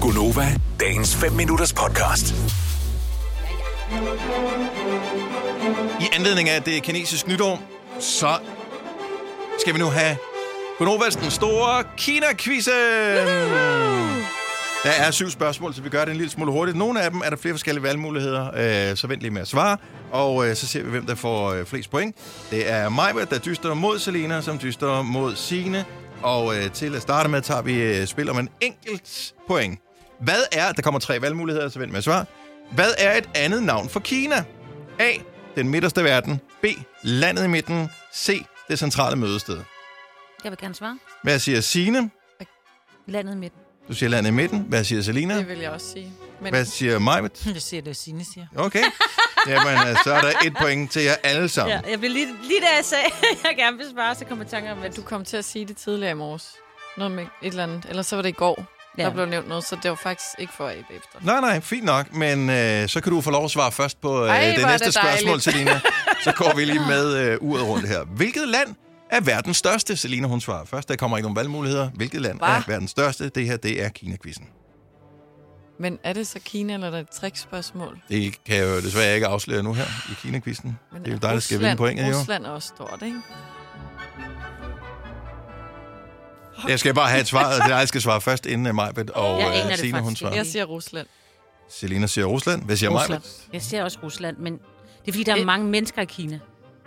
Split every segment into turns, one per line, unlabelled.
Gunova, dagens 5 minutters podcast.
I anledning af at det er kinesisk nytår, så skal vi nu have Gunovas den store Kina-quizzen. Der er syv spørgsmål, så vi gør det en lille smule hurtigt. Nogle af dem er der flere forskellige valgmuligheder, øh, så vent lige med at svare. Og øh, så ser vi, hvem der får øh, flest point. Det er Majbert, der dyster mod Selina, som dyster mod Sine. Og øh, til at starte med, tager vi øh, spil om en enkelt point. Hvad er, der kommer tre valgmuligheder, så vent med at svare. Hvad er et andet navn for Kina? A. Den midterste verden. B. Landet i midten. C. Det centrale mødested.
Jeg vil gerne svare.
Hvad siger Sine?
Landet i midten.
Du siger landet i midten. Hvad siger Selina?
Det vil jeg også sige. Men
Hvad siger Majbet?
Jeg siger det, Signe siger.
Okay. Jamen, øh, så er der et point til jer alle sammen.
Ja, jeg blev lige, lige da jeg sagde, at jeg gerne vil svare, så kom jeg i tanke om, at
du kom til at sige det tidligere i morges. Noget med et eller andet. Eller så var det i går, ja.
Ja.
der blev nævnt noget, så det var faktisk ikke for at efter.
Nej, nej, fint nok, men øh, så kan du få lov at svare først på øh,
Ej,
det
hvor er
næste
det
spørgsmål,
dejligt.
Selina. Så går vi lige med øh, uret rundt her. Hvilket land er verdens største? Selina, hun svarer først. Der kommer ikke nogen valgmuligheder. Hvilket land Hva? er
Hva?
verdens største? Det her, det er Kina-quizzen.
Men er det så Kina, eller er det et trickspørgsmål?
Det kan jeg jo desværre ikke afsløre nu her i Kina-quizzen.
Men
Det er jo dig, der skal vinde
Rusland-
pointet, jo.
Rusland er også stort, ikke?
Jeg skal bare have et svar. Det er dig, der skal svare først, inden Majbet og
Jeg aner
øh,
det
Selina, hun
faktisk
svarer.
ikke.
Jeg siger Rusland.
Selina siger Rusland. Hvad siger
Rusland.
Majbet?
Jeg siger også Rusland, men det er fordi, der er
Øh.
mange mennesker i Kina.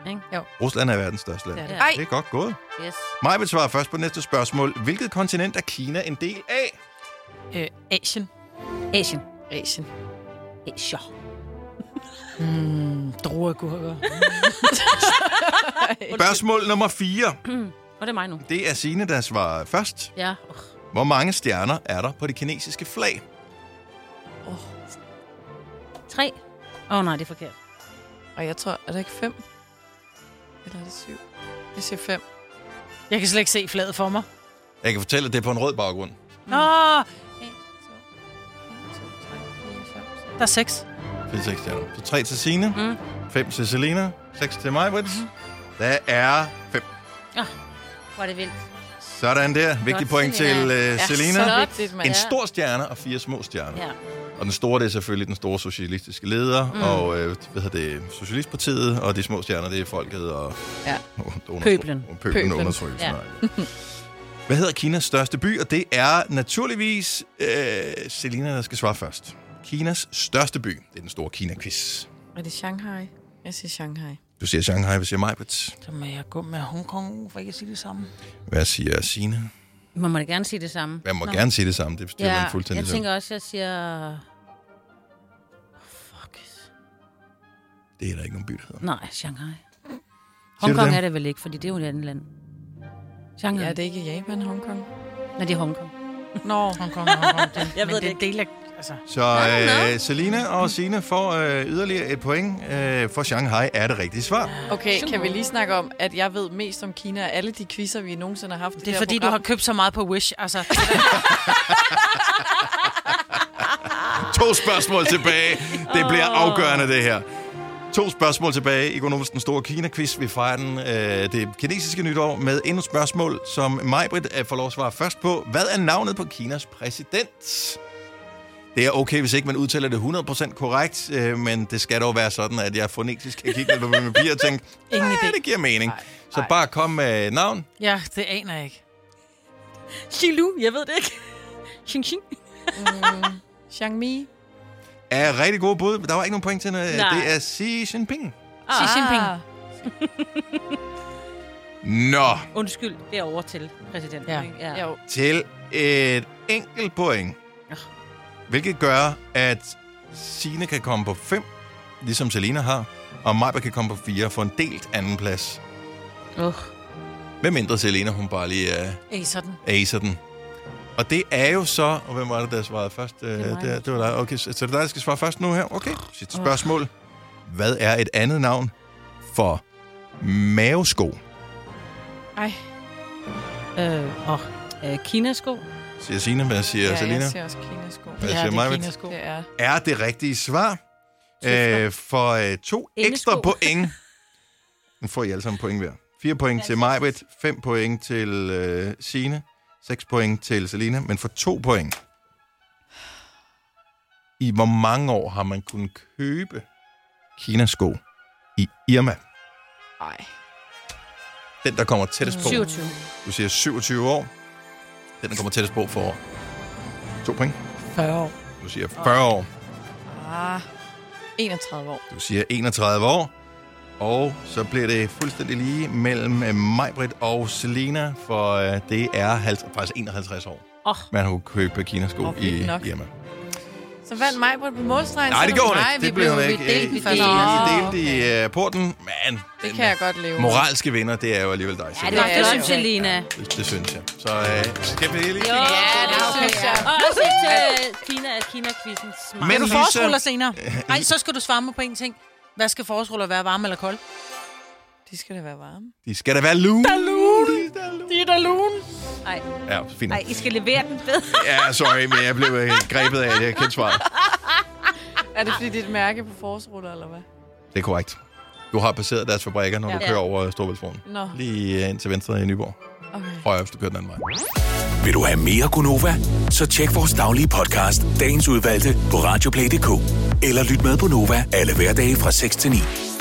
Ikke?
Rusland er verdens største land.
Det er det.
Ja. Det er godt gået.
Yes.
Majbet svarer først på næste spørgsmål. Hvilket kontinent er Kina en del af?
Øh, Asien.
Asien.
Asien.
Asia.
Drueagurker.
Spørgsmål nummer 4.
Og det er mig nu.
Det er Signe, der svarer først.
Ja. Oh.
Hvor mange stjerner er der på det kinesiske flag?
Tre. Åh oh, nej, det er forkert.
Og jeg tror, er der ikke fem? Eller er det syv? Jeg siger fem.
Jeg kan slet ikke se fladet for mig.
Jeg kan fortælle, at det er på en rød baggrund.
Nå, der
En, to, en, to, tre, fire, fem, seks.
er seks.
4-6 stjerner. Så 3 til Signe,
Mm.
5 til Selena, 6 til mig, Britt.
Mm-hmm.
Der er 5.
Hvor er det vildt.
Sådan der. Vigtig
Godt,
point til
Selena.
uh, Selena.
Så vigtigt, man.
En stor stjerne og fire små stjerner.
Ja.
Og den store, det er selvfølgelig den store socialistiske leder, mm. og øh, hvad hedder det, Socialistpartiet, og de små stjerner, det er folket og...
Ja.
og undertryk-
Pøblen.
og Pøblen,
Pøblen.
undertrykkelsen.
Ja.
Ja. Hvad hedder Kinas største by? Og det er naturligvis øh, Selina, der skal svare først. Kinas største by. Det er den store Kina-quiz.
Er det Shanghai? Jeg siger Shanghai.
Du siger Shanghai, hvad siger Majbrit?
Så må jeg gå med Hongkong, for ikke at sige det samme.
Hvad siger Sina?
Man må da gerne sige det samme.
Jeg må Nå. gerne sige det samme, det bestyrer ja, man fuldstændig
jeg
selv.
tænker også, jeg siger... Fuck.
Det er der ikke nogen by, der hedder.
Nej, Shanghai.
Siger du
Hongkong
det?
er det vel ikke, fordi det er jo et andet land. Shanghai.
Ja,
Ja,
er
det...
det ikke Japan, Hongkong?
Nej, det er Hongkong.
Nå,
Hongkong, Hongkong. Det,
Jeg
men
ved
det
det
er en del af... Altså,
Så øh, Selina og Sine får øh, yderligere et point, øh, for Shanghai er det rigtige svar.
Okay, kan vi lige snakke om, at jeg ved mest om Kina af alle de quizzer, vi nogensinde har haft? i
det er
her
fordi, du
program?
har købt så meget på Wish. Altså,
To spørgsmål tilbage. Det bliver afgørende, det her. To spørgsmål tilbage i Gonovas Den Store Kina-quiz. Vi fejrer den, øh, det kinesiske nytår med endnu et spørgsmål, som Majbrit øh, får lov at svare først på. Hvad er navnet på Kinas præsident? Det er okay, hvis ikke man udtaler det 100% korrekt, øh, men det skal dog være sådan, at jeg fonetisk kan kigge lidt på min papir og tænke,
Ingen
"Ej,
idé."
det giver mening.
Nej,
Så
nej.
bare kom med navn.
ja, det aner jeg ikke.
Xilu, jeg ved det ikke. Xing, xing.
Xiangmi.
Er rigtig gode bud, men der var ikke nogen point til noget.
Nej.
Det er Xi Jinping.
Xi Jinping.
Ah,
Nå,
Undskyld, det er over til præsidenten.
Ja.
ikke?
Ja. Jo.
til et enkelt point. Hvilket gør, at Sine kan komme på 5, ligesom Selina har, og Majba kan komme på 4 for en delt anden plads.
Uh.
Med mindre Selina, hun bare lige uh,
Ej, sådan.
acer den. Og det er jo så... Og hvem var det, der svarede først? Det,
mig.
det, det var dig. Okay, så så det er dig, der skal svare først nu her. Okay, sidste spørgsmål. Hvad er et andet navn for mavesko?
Ej,
Øh, og øh, Kinasko.
Siger Signe, hvad siger
ja,
Selina?
jeg ser også Kinasko.
Hvad
ja,
siger
det er
Majbrit?
Kinasko.
Det er...
er det rigtige svar. Øh, for øh, to
Endesko.
ekstra point. Nu får I alle sammen point hver. Fire point til Majbrit, fem point til øh, Sine, seks point til Selina, men for to point i hvor mange år har man kunnet købe Kinasko i Irma?
Nej.
Den, der kommer tættest på.
27.
Du siger 27 år. Den, der kommer tættest på for to point.
40 år.
Du siger 40 år.
Ah, 31 år.
Du siger 31 år. Og så bliver det fuldstændig lige mellem øh, Majbrit og Selena, for øh, det er 50, faktisk 51 år,
Åh,
man har kunnet købe kinasko
Åh,
oh, i
vildt nok.
Irma.
Så vandt mig på målstregen.
Nej, det
selvom-
gjorde hun
Nej,
ikke.
vi
Det blev hun ikke.
Vi delte,
Øh, I
vi delte.
I
Nå,
delte i øh, porten, men
Det
den
kan jeg godt leve. med.
moralske vinder, det er jo alligevel dig.
ja,
Selena.
det, var,
det
det
er
synes
jo
jeg, Lena.
Det, det synes jeg. Så øh, skal vi lige...
Jo,
Ja, det synes jeg.
Og også til Kina, at Kina-quizzen smart.
Men
Men
du
Lisa-
forårsruller senere. Nej, så skal du svare mig på en ting. Hvad skal forårsruller være, varme eller kold?
De skal da være varme.
De skal da være lune. Der lune.
Det er da lun.
Ej,
Ja, fint.
ej, I skal levere den ved.
Ja, sorry, men jeg blev øh, grebet af, at jeg kendte svaret.
Er det fordi, det er et mærke på forårsruller, eller hvad?
Det er korrekt. Du har passeret deres fabrikker, når ja. du
Ja.
kører over Storbæltsbroen.
Nå,
Lige øh, ind til venstre i Nyborg.
okay.
Højre, hvis du kører den anden vej.
Vil du have mere Gunova? Så tjek vores daglige podcast, dagens udvalgte, på radioplay.dk. Eller lyt med på Nova alle hverdage fra 6 til 9.